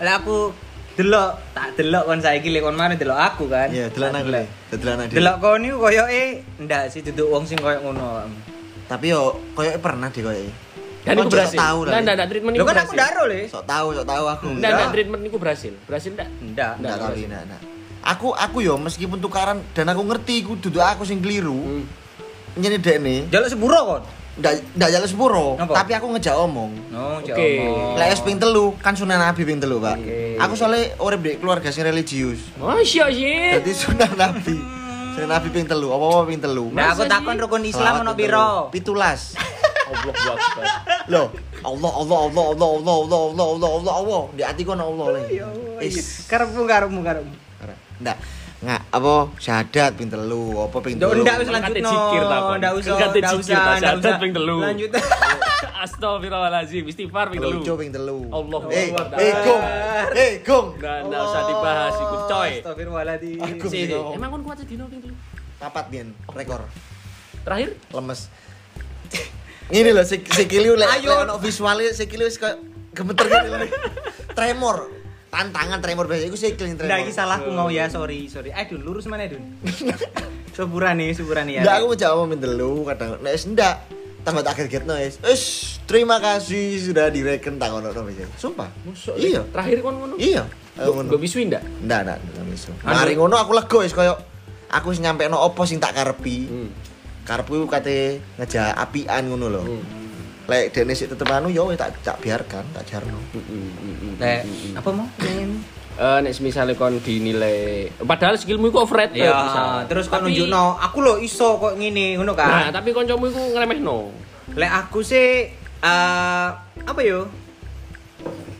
Speaker 2: lek aku delok, tak delok kon saiki lek kon mari delok aku kan.
Speaker 3: iya delan aku le delan aku
Speaker 2: Delok kon niku koyoke ndak sih duduk wong sing koyo ngono.
Speaker 3: tapi yo koyoknya pernah deh koyoknya
Speaker 1: Dan
Speaker 3: Kon
Speaker 1: iku
Speaker 3: sok
Speaker 1: berhasil.
Speaker 3: tahu lah
Speaker 1: Ndak
Speaker 3: Le.
Speaker 1: ndak ndak treatment
Speaker 2: Lho
Speaker 1: iku
Speaker 2: kan aku
Speaker 1: berhasil.
Speaker 2: ndaro le.
Speaker 3: sok tahu sok tahu aku
Speaker 1: Ndak ndak
Speaker 2: Ndak.
Speaker 1: treatment iku berhasil. Berhasil ndak?
Speaker 2: Ndak.
Speaker 3: Enggak
Speaker 1: Nggak
Speaker 3: tapi
Speaker 1: berhasil.
Speaker 3: enggak, enggak. Aku aku yo meskipun tukaran dan aku ngerti ku duduk aku sing keliru.
Speaker 1: Hmm.
Speaker 3: Nyene dek ne,
Speaker 2: Jaluk sepuro kon.
Speaker 3: ndak ndak jales puro,
Speaker 2: Apa?
Speaker 3: tapi aku ngejak omong.
Speaker 2: No, Cok.
Speaker 1: Oke.
Speaker 2: Omong.
Speaker 3: Lek es ping telu kan sunan nabi ping telu, Pak.
Speaker 2: Oke.
Speaker 3: Aku soalnya urip di keluarga sing religius.
Speaker 1: Masya sih.
Speaker 3: Jadi sunan nabi. Sunan nabi ping telu, apa-apa ping telu.
Speaker 2: Ndak aku
Speaker 1: Masa
Speaker 2: takon
Speaker 1: sih?
Speaker 2: rukun Nah, Islam ono piro?
Speaker 3: 17.
Speaker 1: Oblok banget.
Speaker 3: Loh, Allah Allah Allah Allah Allah Allah Allah Allah Allah Allah. Di hatiku ono Allah
Speaker 2: Oh,
Speaker 3: le.
Speaker 2: ya
Speaker 3: Is.
Speaker 2: Karepmu karepmu karepmu.
Speaker 3: Ndak. Nggak, apa syahadat ping telu, apa ping
Speaker 2: Ndak
Speaker 3: telu.
Speaker 2: ndak wis
Speaker 1: Kan
Speaker 2: lanjut
Speaker 1: kate jikir takon.
Speaker 2: Ndak usah.
Speaker 1: Kan kate
Speaker 2: ndak
Speaker 1: jikir,
Speaker 2: usah,
Speaker 1: tak
Speaker 2: ndak
Speaker 1: catat
Speaker 2: usah.
Speaker 1: ping telu.
Speaker 2: Lanjut.
Speaker 1: Astagfirullahaladzim, istighfar ping telu.
Speaker 3: Lucu ping telu.
Speaker 1: Allah
Speaker 3: Eh,
Speaker 1: Akbar.
Speaker 3: eh gong. Eh gong.
Speaker 1: Nggak nggak usah dibahas iku coy.
Speaker 2: Astagfirullahaladzim.
Speaker 3: Aku
Speaker 1: Sih,
Speaker 3: sih.
Speaker 1: emang kon kuat sedino ping telu.
Speaker 3: Papat bien, rekor.
Speaker 1: Terakhir
Speaker 3: Lemes. Ini loh si sikili lek
Speaker 2: Ayo.
Speaker 3: lek ono visualnya sikili wis kayak gemeter gitu loh. Tremor. Tantangan tremor biasa iku sikil yang
Speaker 2: Ndak
Speaker 3: tremor.
Speaker 2: iki salahku mau ya, sorry, sorry. Eh, Dun, lurus mana, Dun? Suburan nih, suburan ya.
Speaker 3: Ndak aku mau jawab min telu kadang. Nek wis ndak tambah tak gergetno wis. Wis, terima kasih sudah direken tak ono no biasa. Sumpah.
Speaker 1: Masuk,
Speaker 3: Iya.
Speaker 1: Terakhir kon ngono.
Speaker 3: Iya. Aku ngono.
Speaker 1: Gak bisu ndak?
Speaker 3: Ndak, ndak, ndak iso.
Speaker 1: Anu-
Speaker 3: Mari ngono aku lega wis koyo aku wis nyampe no apa sing tak karepi.
Speaker 1: Hmm.
Speaker 3: Karepku kate ngeja apian ngono lho.
Speaker 1: Hmm.
Speaker 3: Lek dene sik tetep anu yo wis tak tak biarkan, tak jarno.
Speaker 1: hmm,
Speaker 2: Lek, apa mau? Pengen.
Speaker 1: Eh, nek misalnya kon dinilai, padahal skillmu iku overrated.
Speaker 2: Ya,
Speaker 1: misal.
Speaker 2: terus kau
Speaker 1: Tapi-
Speaker 2: nunjukno, aku lo iso kok ngene, ngono
Speaker 1: Nah,
Speaker 2: kan.
Speaker 1: tapi kancamu iku ngremehno.
Speaker 2: Lek aku sih eh apa yo?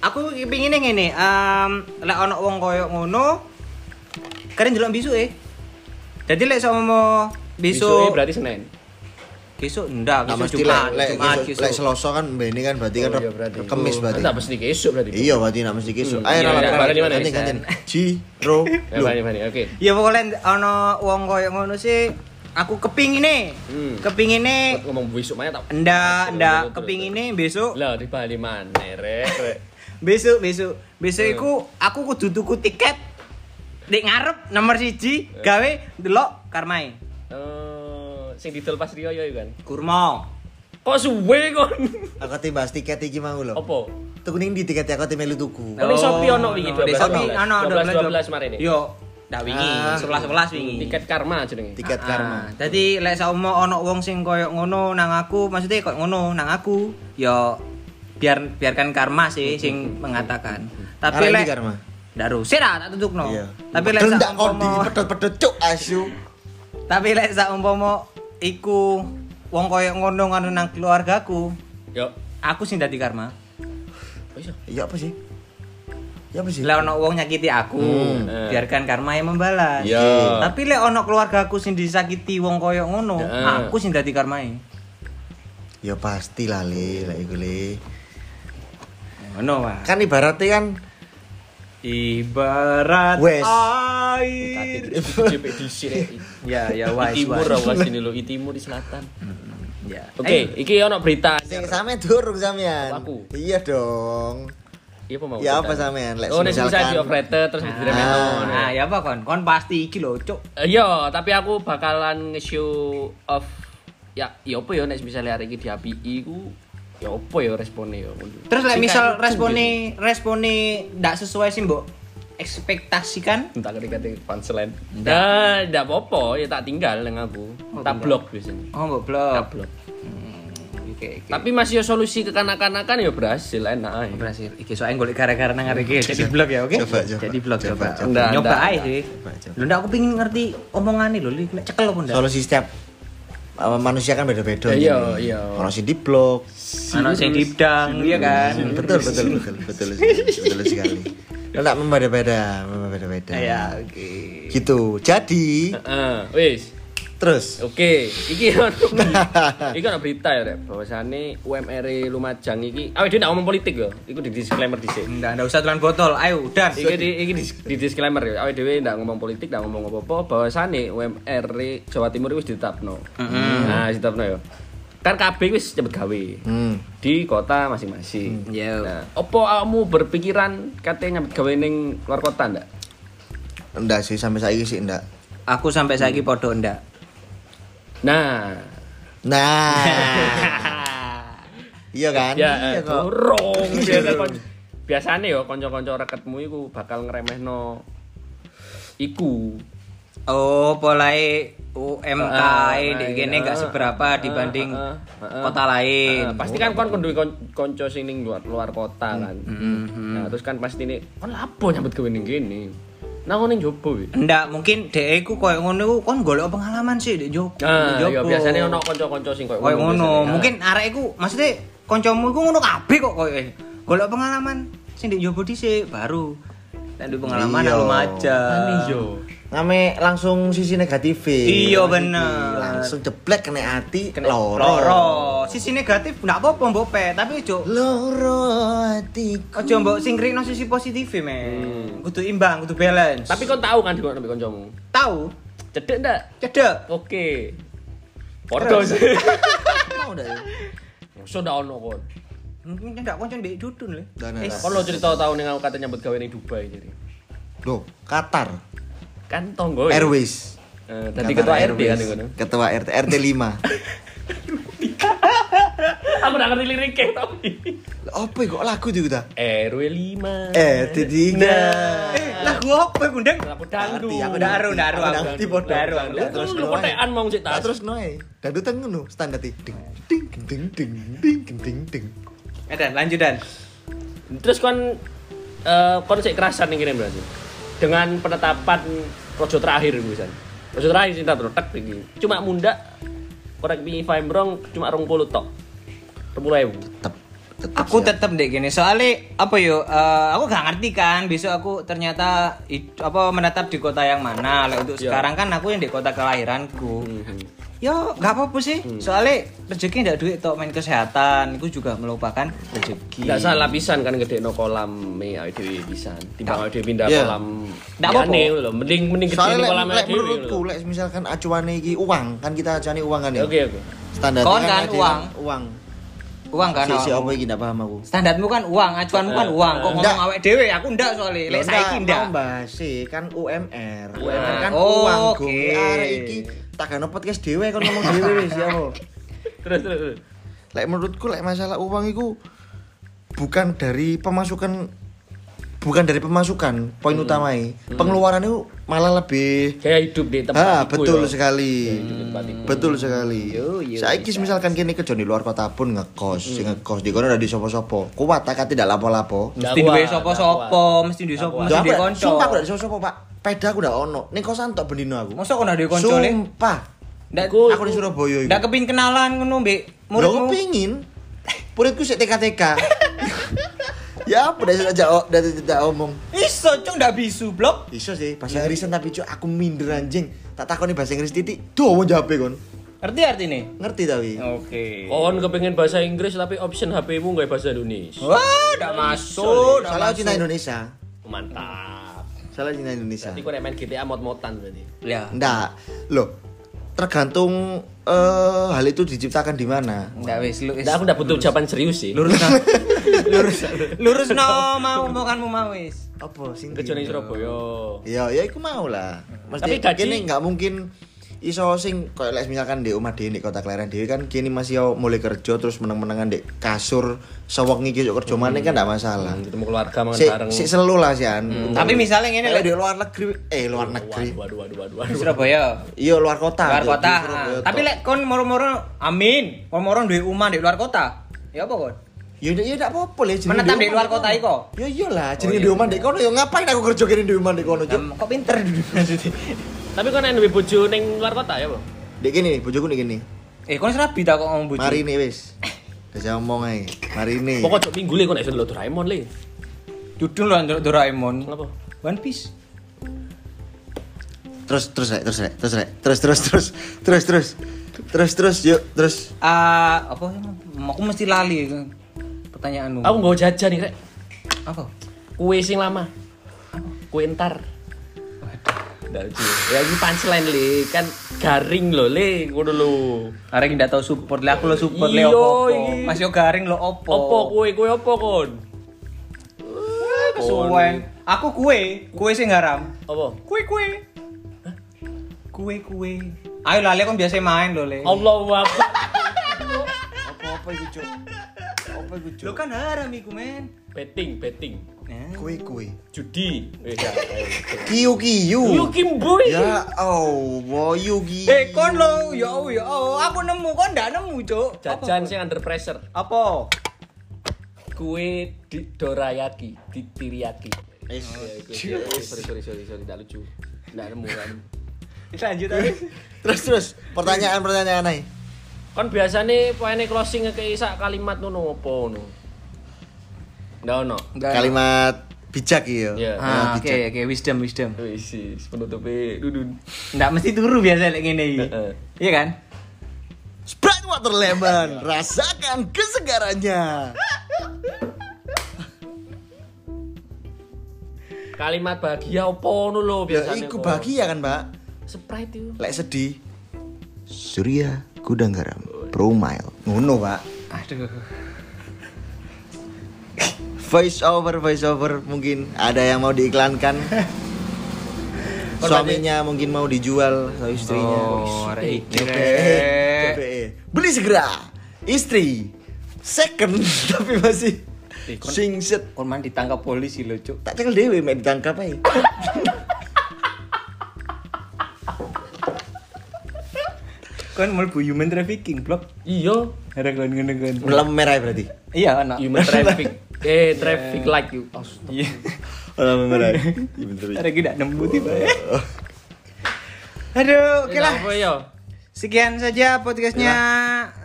Speaker 2: Aku pinginnya ngene, em lek ana wong koyo ngono keren delok bisu eh. Jadi lek sama
Speaker 1: Bisuke
Speaker 2: besok
Speaker 1: berarti Senin.
Speaker 2: besok ndak besok
Speaker 3: Nah, mesti lek
Speaker 2: Jumat,
Speaker 3: lek
Speaker 2: Jumat
Speaker 3: besok- lek
Speaker 2: besok.
Speaker 3: Selasa kan mbene kan berarti kan
Speaker 1: Oh, iya,
Speaker 3: Reb-
Speaker 1: berarti.
Speaker 3: Kamis berarti.
Speaker 1: Enggak pasti esuk berarti.
Speaker 3: Iya berarti nak mesti kisuk.
Speaker 1: Hmm,
Speaker 3: Ayo
Speaker 1: iya,
Speaker 3: lah.
Speaker 1: iya, barangnya mana,
Speaker 3: Ganti
Speaker 1: Isan?
Speaker 3: ganti. Jiro.
Speaker 1: Ya, Fani, Fani, Oke.
Speaker 2: Ya pokoknya ana wong koyo ngono sih aku kepingine.
Speaker 1: Hmm.
Speaker 2: Kepingine
Speaker 1: Ngomong besok mana tak?
Speaker 2: ndak ndak
Speaker 1: Betul, betul,
Speaker 2: kepingine besok
Speaker 1: Lah di Bali mana, Rek? Rek.
Speaker 2: besok besok besok
Speaker 1: Eh.
Speaker 2: iku aku kudu tuku tiket di ngarep nomor siji gawe delok karmai
Speaker 1: Eh, sing didol pas Rio ya kan.
Speaker 2: kurma
Speaker 1: Kok suwe kon?
Speaker 3: Aku timbas tiket iki mau lho.
Speaker 1: Apa?
Speaker 3: Tuku ning ndi tiket aku melu tuku.
Speaker 1: Oh, di Shopee ono iki,
Speaker 2: di
Speaker 1: 12,
Speaker 2: Shopee
Speaker 1: 12,
Speaker 2: ono
Speaker 1: 12,
Speaker 2: 12
Speaker 1: kemarin ini.
Speaker 2: yo dak wingi
Speaker 3: Ah.
Speaker 2: 11 11 wingi
Speaker 1: Tiket karma jenenge.
Speaker 3: Tiket
Speaker 1: ah.
Speaker 3: karma.
Speaker 2: Jadi lek saumo ono wong sing koyo ngono nang aku, maksudnya koyo ngono nang aku, yo biar biarkan karma sih sing mengatakan. Tapi
Speaker 3: Hmm. Arah ini
Speaker 2: lek
Speaker 3: karma.
Speaker 2: Ndak rusih lah, tak
Speaker 1: Oh.
Speaker 2: tutukno.
Speaker 3: Iya.
Speaker 2: Tapi lek
Speaker 3: Padahal ndak kondi
Speaker 2: saumo
Speaker 3: pedot-pedot cuk asu.
Speaker 1: Oh,
Speaker 2: Tapi lek saumpama iku wong koyo ngono nganu nang keluargaku,
Speaker 1: Yo.
Speaker 2: aku sing dadi karma.
Speaker 1: iso.
Speaker 3: Iya apa sih? Ya apa sih?
Speaker 2: Lah ono wong nyakiti aku,
Speaker 1: Eh.
Speaker 2: biarkan karma yang membalas.
Speaker 1: Iya.
Speaker 2: Tapi lek ono keluarga aku sing disakiti wong koyo ngono,
Speaker 1: Heeh.
Speaker 2: aku sing dadi e. karmae.
Speaker 3: Ya pasti lah le, lah iku le.
Speaker 2: Ngono wae.
Speaker 3: Kan ibaratnya kan
Speaker 2: Ibarat
Speaker 3: Wes.
Speaker 2: air.
Speaker 1: Tapi di sini
Speaker 2: Ya ya wise
Speaker 1: timur
Speaker 2: wise.
Speaker 1: awas ini lo, di timur di selatan.
Speaker 2: Ya.
Speaker 1: Oke, iki ono berita.
Speaker 3: sing sampe durung sampean.
Speaker 1: Aku.
Speaker 3: Iya dong.
Speaker 1: Iya apa mau?
Speaker 3: Ya apa
Speaker 1: berita? Ah.
Speaker 3: sampean? Lek
Speaker 1: Oh, ini bisa
Speaker 3: misalkan-
Speaker 1: di operator terus diremeh.
Speaker 2: Eh, Nah, ya apa kon? Kon pasti iki lho, Cuk.
Speaker 1: Iya, tapi aku bakalan nge-show off ya ya apa ya nek misalnya hari ini diapiki ku ya apa ya responnya ya.
Speaker 2: Terus lek
Speaker 1: Singkat
Speaker 2: misal
Speaker 1: lucu gitu.
Speaker 2: respone respone ndak sesuai sih, Mbok. Ekspektasikan.
Speaker 1: entah ketika di punchline. Nah, ndak apa-apa, ya tak tinggal yang aku.
Speaker 2: Oh,
Speaker 1: tak
Speaker 2: tinggal.
Speaker 1: blok biasanya.
Speaker 2: Oh, Mbok
Speaker 1: Tak
Speaker 3: Ya,
Speaker 2: blok. Hmm,
Speaker 1: blok.
Speaker 2: Oke, oke.
Speaker 1: Tapi masih ya solusi kekanak-kanakan ya berhasil enak ae.
Speaker 2: berhasil. Iki soalnya golek gara-gara nang arek iki. Jadi blog ya, oke?
Speaker 3: Coba, coba.
Speaker 2: Jadi blog
Speaker 3: Coba,
Speaker 2: coba.
Speaker 3: coba.
Speaker 2: Ndak, Nyoba
Speaker 1: ndak,
Speaker 2: ae
Speaker 1: ndak.
Speaker 2: sih.
Speaker 3: Coba, coba.
Speaker 2: Lho ndak aku pengin ngerti omongane lho, Li. nek cekel apa ndak?
Speaker 3: Solusi setiap uh, manusia kan beda-beda.
Speaker 1: Iya,
Speaker 3: ini.
Speaker 1: iya.
Speaker 3: Orang sing di blok.
Speaker 2: Anak sing dibdang, iya kan?
Speaker 3: Betul, betul, betul, betul, sekali, betul sekali. Tidak membeda-beda, membeda-beda.
Speaker 2: Ya, oke.
Speaker 3: Gitu. Jadi,
Speaker 1: Heeh, Eh, wis.
Speaker 3: terus
Speaker 1: Oke, iki ono iki ono berita ya rek bahwasane UMR E Lumajang iki awake dhewe ndak ngomong politik ya. Iku di disclaimer dhisik.
Speaker 2: Ndak ndak usah telan botol. Ayo, udah.
Speaker 1: Iki di, iki di, di disclaimer ya, awake dhewe ndak ngomong politik, ndak ngomong apa-apa, bahwasane UMR Jawa Timur wis ditetapno. Nah, ditetapno ya. Kan KB wis cepet gawe
Speaker 3: Hmm.
Speaker 1: di kota masing-masing.
Speaker 2: Yo.
Speaker 1: Nah, opo kamu berpikiran katanya nyambut gawe ning luar kota ndak?
Speaker 3: enggak sih sampai saiki sih enggak.
Speaker 2: Aku sampai saiki podo ndak.
Speaker 1: Nah,
Speaker 3: Nah, iya kan?
Speaker 1: ya eh,
Speaker 3: kok.
Speaker 1: dorong biasane kon- biasane ya kanca-kanca reketmu iku bakal ngremehno iku.
Speaker 2: Oh, polai UMK
Speaker 1: Ah,
Speaker 2: e, di
Speaker 1: iya.
Speaker 2: kene enggak seberapa dibanding
Speaker 1: Ah, ah, ah, ah.
Speaker 2: kota lain. Hmm,
Speaker 1: Ah, pasti kan kon kudu kon- konco sing ning luar luar kota kan. Nah, terus kan pasti ini kon lapo nyambut gawe ning kene. Nah, kon ning jopo wi.
Speaker 2: Ndak mungkin dhek iku koyo ngono iku kon golek pengalaman sih di Jogja.
Speaker 3: Ah,
Speaker 1: Nah, ya
Speaker 3: iya,
Speaker 1: biasanya ono kanca-kanca sing koyo
Speaker 2: koyo ngono.
Speaker 1: biasanya.
Speaker 2: Mungkin arek iku maksudnya kancamu iku ngono kabeh kok koyo. Golek pengalaman sing di Jogja dhisik baru. Nek duwe pengalaman
Speaker 3: Iya.
Speaker 2: nang Lumajang.
Speaker 1: Ah, iya.
Speaker 3: Ngame langsung sisi negatif.
Speaker 2: Iya, bener.
Speaker 3: Langsung jeblek kena hati,
Speaker 2: Kena
Speaker 3: loro.
Speaker 2: loro. Sisi negatif ndak apa-apa mbok pe, tapi ojo
Speaker 3: Loro hatiku.
Speaker 2: Ojo mbok singkrino sisi positif men. Kudu imbang, kudu balance.
Speaker 1: Tapi kon tahu kan dikono mbek kancamu.
Speaker 2: tahu
Speaker 1: Cedek ndak?
Speaker 2: cedek.
Speaker 1: Oke. Podo sih.
Speaker 3: Mau ndak ya?
Speaker 1: Mosok ndak ono kon.
Speaker 2: Mungkin ndak konco mbek dudun lho.
Speaker 3: Ndak, ndak,
Speaker 2: Eh,
Speaker 3: ndak.
Speaker 1: Kon lo cerita tau ning aku kate nyambut gawe ning Dubai jadi.
Speaker 3: Loh, Qatar.
Speaker 1: Kan tonggo.
Speaker 2: Oh, iya.
Speaker 1: ya.
Speaker 3: Airways.
Speaker 1: Eh, Dadi ketua
Speaker 3: Qatar
Speaker 1: RT kan
Speaker 3: Airways.
Speaker 1: ngono.
Speaker 3: Ketua RT RT 5.
Speaker 1: Aku ndak ngerti liriknya tapi.
Speaker 3: Apa ya, kok lagu itu kita?
Speaker 1: RW 5.
Speaker 3: RT 3.
Speaker 2: Eh, lagu apa Gundeng?
Speaker 1: Nah, Aku dangdut.
Speaker 3: Ngerti, aku
Speaker 2: Ndak aru, ndak aru.
Speaker 3: Aku
Speaker 2: aku.
Speaker 3: ngerti, bodoh.
Speaker 2: Ndak aru, aku
Speaker 1: Aku
Speaker 2: ndak aru.
Speaker 1: terus lu kotekan mau cek tas.
Speaker 3: Tak terus noe. Dangdutan ngono standar e. ding ding ding ding ding ding ding.
Speaker 2: Eh, Dan, lanjut Dan.
Speaker 1: Terus kon eh kon sik kerasan ning kene berarti. Dengan penetapan rojo terakhir misalnya. Rojo terakhir cinta bro, tek iki. Cuma mundak korek mi if I'm wrong cuma 20 tok. 20.000.
Speaker 3: Tetep tetep
Speaker 2: Aku
Speaker 3: siap.
Speaker 2: tetep deh gini, soalnya apa yo? eh, aku gak ngerti kan. Besok aku ternyata hid- apa menetap di kota yang mana. Lah, untuk
Speaker 1: Iya.
Speaker 2: sekarang kan aku yang di kota kelahiranku. Yo, gak apa-apa sih. Soalnya rezeki ndak duit tok main kesehatan. Aku juga melupakan rezeki.
Speaker 1: Enggak salah pisan kan gede no kolam me awake dhewe pisan. Timbang awake dhewe pindah
Speaker 3: Iya.
Speaker 1: kolam.
Speaker 2: Ndak apa-apa.
Speaker 1: liyane lho, mending mending gede
Speaker 3: Soalnya
Speaker 1: ning
Speaker 3: lek-
Speaker 1: kolam
Speaker 3: lek
Speaker 1: awake dhewe.
Speaker 3: menurutku
Speaker 2: gitu.
Speaker 1: lho.
Speaker 3: lek misalkan acuane iki uang, kan kita acuane uang kan ya.
Speaker 1: Oke oke.
Speaker 3: Standar
Speaker 2: Kon kan
Speaker 3: ada
Speaker 2: uang.
Speaker 3: Uang.
Speaker 2: Uang kan
Speaker 3: Si si
Speaker 2: awakmu.
Speaker 3: apa iki ndak paham aku.
Speaker 2: standarmu kan uang, acuanmu kan uang. Kok ngomong
Speaker 3: Ndak.
Speaker 2: awake dhewe, aku ndak soalnya. Lek saiki ndak.
Speaker 3: mau bahas sih, kan UMR. UMR
Speaker 1: Ah,
Speaker 3: kan
Speaker 2: Oh, oke.
Speaker 3: uang gue arek iki tak gak podcast dhewe kon ngomong dhewe wis ya apa.
Speaker 1: Terus terus. terus.
Speaker 3: Lek menurutku lek masalah uang iku bukan dari pemasukan bukan dari pemasukan poin
Speaker 2: Hmm.
Speaker 3: utamanya pengeluaran itu malah lebih
Speaker 1: Gaya hidup di tempat
Speaker 3: ah
Speaker 1: iku
Speaker 3: betul
Speaker 1: ya.
Speaker 3: sekali
Speaker 2: Iya,
Speaker 1: hidup di tempat iku.
Speaker 3: betul sekali
Speaker 2: Yo, yo, Hmm.
Speaker 3: saiki misalkan kini kerja di luar kota pun ngekos sing ngekos di kono ada di sopo-sopo kuat tak tidak lapo-lapo
Speaker 1: Ndak
Speaker 2: mesti duwe
Speaker 1: kuat, ndak
Speaker 2: sapa-sapa,
Speaker 1: kuat.
Speaker 2: mesti duwe sapa,
Speaker 1: Ndak
Speaker 2: mesti
Speaker 3: Sumpah,
Speaker 2: duwe
Speaker 3: aku
Speaker 2: kanca.
Speaker 3: sumpah aku gak ada sopo pak peda aku gak ono ning kosan tok bendino aku
Speaker 2: Mosok kono duwe kanca le?
Speaker 3: sumpah
Speaker 2: Ndak
Speaker 1: Aku-
Speaker 3: aku di Surabaya iku.
Speaker 2: ndak kepin kenalan ngono, Mbak.
Speaker 3: Muridku
Speaker 2: Muridmu.
Speaker 3: pingin. Muridku sik TK-TK. Ya apa dari saja oh, dari tidak omong.
Speaker 2: Iso cung ndak bisu blok.
Speaker 3: Iso sih bahasa Inggris tapi cuk aku minder anjing. Tak takoni bahasa Inggris titik. Duh mau jawab kon.
Speaker 2: Ngerti artine?
Speaker 3: Ngerti tapi.
Speaker 2: Oke.
Speaker 1: Kon kepengen bahasa Inggris tapi option HP-mu nggak bahasa Indonesia.
Speaker 3: Oh.
Speaker 2: Wah, ndak masuk. ndak
Speaker 3: Salah
Speaker 2: masuk.
Speaker 3: cinta Indonesia.
Speaker 1: Mantap.
Speaker 3: Salah cinta Indonesia.
Speaker 1: Berarti kau main GTA mot-motan berarti.
Speaker 2: Ya.
Speaker 3: Enggak. Loh, tergantung eh, hal itu diciptakan di mana.
Speaker 2: Ndak wis lu wis.
Speaker 1: Nah, aku udah butuh ucapan serius sih.
Speaker 2: Lurus no. Lurus. Lurus no mau omonganmu mau wis.
Speaker 3: Apa sing
Speaker 1: Kejone Surabaya.
Speaker 3: Ya, ya iku mau lah.
Speaker 1: Tapi
Speaker 3: Mesti
Speaker 1: gaji-
Speaker 3: kene nggak mungkin iso sing koyo lek misalkan di omah dhewe di kota Kelahiran dhewe kan kini masih yo mulai kerja terus meneng-menengan di kasur sewengi iki yo kerja maneh kan nggak masalah.
Speaker 1: Ketemu keluarga makan
Speaker 3: Si,
Speaker 1: bareng.
Speaker 3: si selu lah sih an.
Speaker 2: Tapi misalnya ngene
Speaker 3: Lek
Speaker 2: lho.
Speaker 3: di luar negeri, eh Hmm. luar negeri.
Speaker 1: Waduh, waduh, waduh, waduh.
Speaker 2: Surabaya.
Speaker 3: Iya luar kota.
Speaker 2: Luar
Speaker 3: yo, di
Speaker 2: kota.
Speaker 3: Surabaya
Speaker 2: ah. Tapi
Speaker 3: tok.
Speaker 2: lek kon moro-moro amin. Moro-moro duwe omah di luar kota. Ya apa kon?
Speaker 3: Ya udah, ya udah apa-apa lah jenenge
Speaker 2: Menetap
Speaker 3: di
Speaker 2: di
Speaker 3: omah
Speaker 2: luar kota iko.
Speaker 3: Ya iyalah, jenenge di omah ndek kono ya ngapain aku kerja kene di omah ndek kono, Cuk.
Speaker 2: iya, Em, Kok pinter maksudnya?
Speaker 1: Tapi kau nang duwe bojo ning luar kota ya, Bro?
Speaker 3: Ndek kene, bojoku ndek kene.
Speaker 2: Eh kon serabi tak kok ngomong bojo.
Speaker 3: Mari nih wis. Wis omong ae. Mari nih.
Speaker 1: Pokok cok minggu le kau nek iso ndelok Doraemon le.
Speaker 2: Dudung lho ndelok Doraemon.
Speaker 1: Kenapa?
Speaker 2: One Piece.
Speaker 3: terus terus rek, terus rek, terus rek, terus terus terus terus terus terus terus yuk terus
Speaker 2: Ah, apa? Aku mesti lali pertanyaanmu.
Speaker 1: Aku nggak jajan nih, Rek.
Speaker 2: Apa?
Speaker 1: Kue sing lama. Kue entar. Nggak lucu. Ya ini punchline le, kan garing lo le, ngono lo.
Speaker 2: Arek ndak tau support lah, aku lo support le
Speaker 1: Iya,
Speaker 2: opo.
Speaker 1: iki.
Speaker 2: Mas yo garing lo opo.
Speaker 1: Opo kue kue opo kon?
Speaker 2: Kesuwen. Aku kue, kue sing garam.
Speaker 1: Apa?
Speaker 2: Kue kue. Kue kue. Ayo lali kon biasa main lo le.
Speaker 1: Allahu Akbar.
Speaker 3: apa-apa iku cuk apa iku
Speaker 2: Lo kan haram iku men.
Speaker 1: Betting, betting.
Speaker 2: Nah.
Speaker 3: kue kue
Speaker 1: Judi. Eh, ya, ayo.
Speaker 3: kiu
Speaker 1: Yo
Speaker 3: kiu
Speaker 1: Kimboy.
Speaker 3: Uh. ya Allah yuk
Speaker 2: Eh kon lo, ya Allah, ya Allah. aku nemu kon ndak nemu, Cuk. Apa?
Speaker 1: Jajan sing under pressure.
Speaker 2: Apa?
Speaker 1: Kue di dorayaki, di tiriyaki.
Speaker 3: Is.
Speaker 1: Sorry, sorry, sorry, sorry, tidak lucu. Tidak nemu kan.
Speaker 2: Lanjut aja.
Speaker 3: terus terus pertanyaan pertanyaan ae
Speaker 1: Kan biasane poene closing ngekei sak kalimat ngono apa ngono. Ndak ono.
Speaker 3: kalimat bijak Nah. iya
Speaker 1: Iya.
Speaker 3: Kalimat
Speaker 2: Ah, oke
Speaker 3: bijak.
Speaker 2: oke wisdom wisdom.
Speaker 1: Wis, wis, penutupe dudun.
Speaker 2: Ndak mesti turu biasa lek ngene iki.
Speaker 1: Heeh.
Speaker 2: Iya kan?
Speaker 3: Sprite water lemon rasakan kesegarannya
Speaker 1: Kalimat bahagia apa ngono lho
Speaker 3: ya
Speaker 1: biasane.
Speaker 3: iku
Speaker 1: kok.
Speaker 3: bahagia kan mbak
Speaker 1: Sprite itu.
Speaker 3: lek sedih Surya Gudang Garam Pro Mile ngono pak
Speaker 2: Aduh.
Speaker 3: voice over voice over mungkin ada yang mau diiklankan suaminya mungkin mau dijual atau istrinya
Speaker 2: Oh, rek iki
Speaker 3: Eh,
Speaker 2: rek.
Speaker 3: eh, beli segera istri second tapi masih singset
Speaker 2: Kon man ditangkap polisi lho, Cuk.
Speaker 3: tak cekel dewe main ditangkap aja
Speaker 2: Kon mlebu human trafficking, blok.
Speaker 1: Iya,
Speaker 2: Ada kon ngene kon.
Speaker 3: lampu merah berarti
Speaker 2: Iya, ana.
Speaker 1: human traffic. Eh, traffic like you.
Speaker 2: Iya.
Speaker 3: lampu merah iya.
Speaker 2: Ada iki ndak nemu tiba.
Speaker 3: Oh,
Speaker 2: Aduh, oke lah.
Speaker 1: Apa ya?
Speaker 2: Sekian saja podcastnya.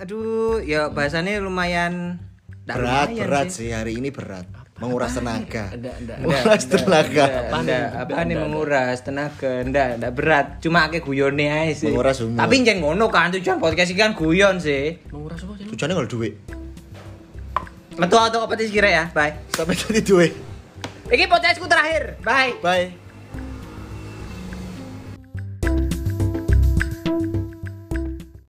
Speaker 2: Aduh, ya bahasannya lumayan ndak
Speaker 3: Iya. berat
Speaker 2: lumayan
Speaker 3: berat sih hari ini berat menguras tenaga
Speaker 1: Ndak, ndak.
Speaker 3: menguras tenaga
Speaker 2: Apa nih? Apa nih menguras tenaga? Ndak, ndak berat. Cuma akeh guyone ae sih.
Speaker 3: Menguras umur.
Speaker 2: Tapi njen ngono kan tujuan podcast iki kan guyon sih.
Speaker 1: Menguras apa sih?
Speaker 3: tujuannya kalau duit
Speaker 2: Metu auto kompetisi kira ya. Bye.
Speaker 3: sampai tadi duit
Speaker 2: Iki podcastku terakhir. Bye.
Speaker 3: bye